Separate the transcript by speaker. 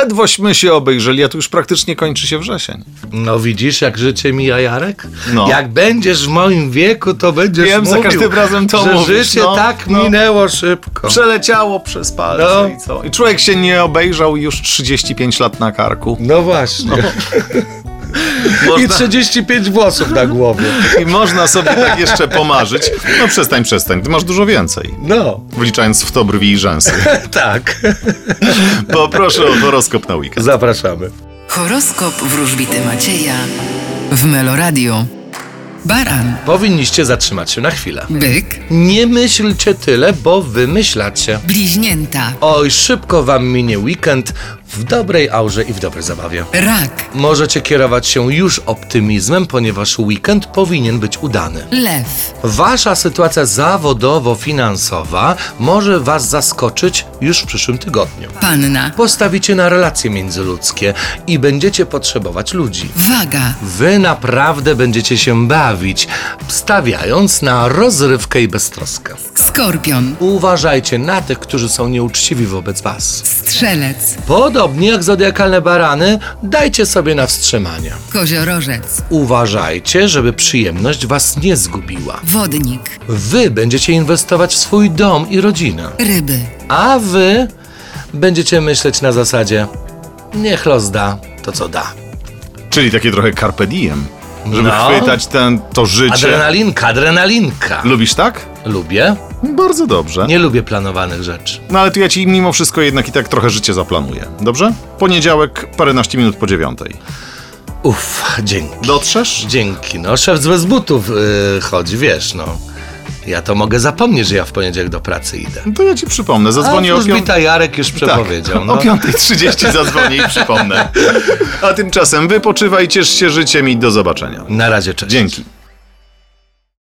Speaker 1: Ledwośmy się obejrzeli, a tu już praktycznie kończy się wrzesień.
Speaker 2: No widzisz, jak życie mija, Jarek?
Speaker 1: No.
Speaker 2: Jak będziesz w moim wieku, to będziesz
Speaker 1: Wiem, za
Speaker 2: mówił,
Speaker 1: każdym razem to
Speaker 2: że
Speaker 1: mówisz,
Speaker 2: życie
Speaker 1: no,
Speaker 2: tak
Speaker 1: no.
Speaker 2: minęło szybko.
Speaker 1: Przeleciało przez palce
Speaker 2: No.
Speaker 1: i co? I człowiek się nie obejrzał i już 35 lat na karku.
Speaker 2: No właśnie. I
Speaker 1: Można,
Speaker 2: 35 włosów na głowie.
Speaker 1: I można sobie tak jeszcze pomarzyć. No przestań, przestań, ty masz dużo więcej.
Speaker 2: No,
Speaker 1: Wliczając w to brwi i rzęsy.
Speaker 2: tak.
Speaker 1: Poproszę o horoskop na weekend.
Speaker 2: Zapraszamy.
Speaker 3: Horoskop wróżbity Macieja w Meloradio. Baran,
Speaker 2: Powinniście zatrzymać się na chwilę.
Speaker 3: byk,
Speaker 2: Nie myślcie tyle, bo wymyślacie.
Speaker 3: bliźnięta,
Speaker 2: Oj, szybko wam minie weekend w dobrej aurze i w dobrej zabawie.
Speaker 3: rak,
Speaker 2: Możecie kierować się już optymizmem, ponieważ weekend powinien być udany.
Speaker 3: lew,
Speaker 2: Wasza sytuacja zawodowo-finansowa może Was zaskoczyć już w przyszłym tygodniu.
Speaker 3: panna,
Speaker 2: Postawicie na relacje międzyludzkie i będziecie potrzebować ludzi.
Speaker 3: waga,
Speaker 2: Wy naprawdę będziecie się bawić, stawiając na rozrywkę i beztroskę.
Speaker 3: skorpion,
Speaker 2: Uważajcie na tych, którzy są nieuczciwi wobec Was.
Speaker 3: strzelec,
Speaker 2: Podobnie jak zodiakalne barany, dajcie sobie na wstrzymanie.
Speaker 3: koziorożec,
Speaker 2: Uważajcie, żeby przyjemność Was nie zgubiła.
Speaker 3: wodnik,
Speaker 2: Wy będziecie inwestować w swój dom i rodzinę.
Speaker 3: ryby,
Speaker 2: a wy będziecie myśleć na zasadzie niech los da to, co da.
Speaker 1: Czyli takie trochę carpe diem, żeby
Speaker 2: No.
Speaker 1: chwytać ten, to życie.
Speaker 2: Adrenalinka, adrenalinka.
Speaker 1: Lubisz tak?
Speaker 2: Lubię.
Speaker 1: Bardzo dobrze.
Speaker 2: Nie lubię planowanych rzeczy.
Speaker 1: No ale tu ja ci mimo wszystko jednak i tak trochę życie zaplanuję. Dobrze? Poniedziałek, paręnaście minut po dziewiątej.
Speaker 2: Uff, dzięki.
Speaker 1: No. Dotrzesz?
Speaker 2: Dzięki. No, szef z bez butów yy, chodzi, wiesz, no. Ja to mogę zapomnieć, że ja w poniedziałek do pracy idę.
Speaker 1: No To ja ci przypomnę, zadzwonię
Speaker 2: A
Speaker 1: o piątej.
Speaker 2: wróżbita Jarek już przepowiedział.
Speaker 1: Tak,
Speaker 2: no.
Speaker 1: o 5.30 zadzwonię i przypomnę. A tymczasem wypoczywaj, ciesz się życiem i do zobaczenia.
Speaker 2: Na razie, cześć.
Speaker 1: Dzięki.